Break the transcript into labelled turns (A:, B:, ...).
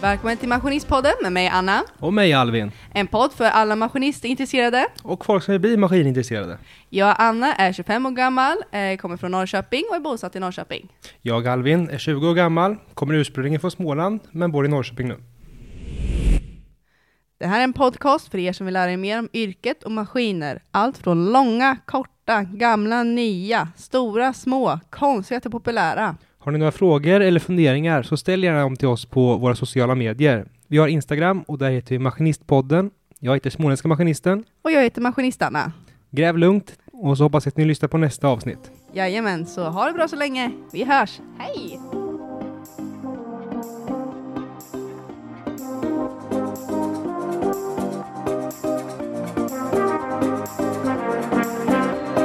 A: välkommen till Maskinistpodden med mig Anna.
B: Och mig Alvin.
A: En podd för alla maskinistintresserade.
B: Och folk som vill bli maskinintresserade.
A: Jag Anna är 25 år gammal, eh, kommer från Norrköping och är bosatt i Norrköping.
B: Jag Alvin är 20 år gammal, kommer ursprungligen från Småland, men bor i Norrköping nu.
A: Det här är en podcast för er som vill lära er mer om yrket och maskiner. Allt från långa, korta, gamla, nya, stora, små, konstiga till populära.
B: Har ni några frågor eller funderingar så ställ gärna dem till oss på våra sociala medier. Vi har Instagram och där heter vi Maskinistpodden. Jag heter Småländska Maskinisten.
A: Och jag heter Maskinist-Anna.
B: Gräv lugnt och så hoppas jag att ni lyssnar på nästa avsnitt.
A: Jajamän, så ha det bra så länge. Vi hörs. Hej!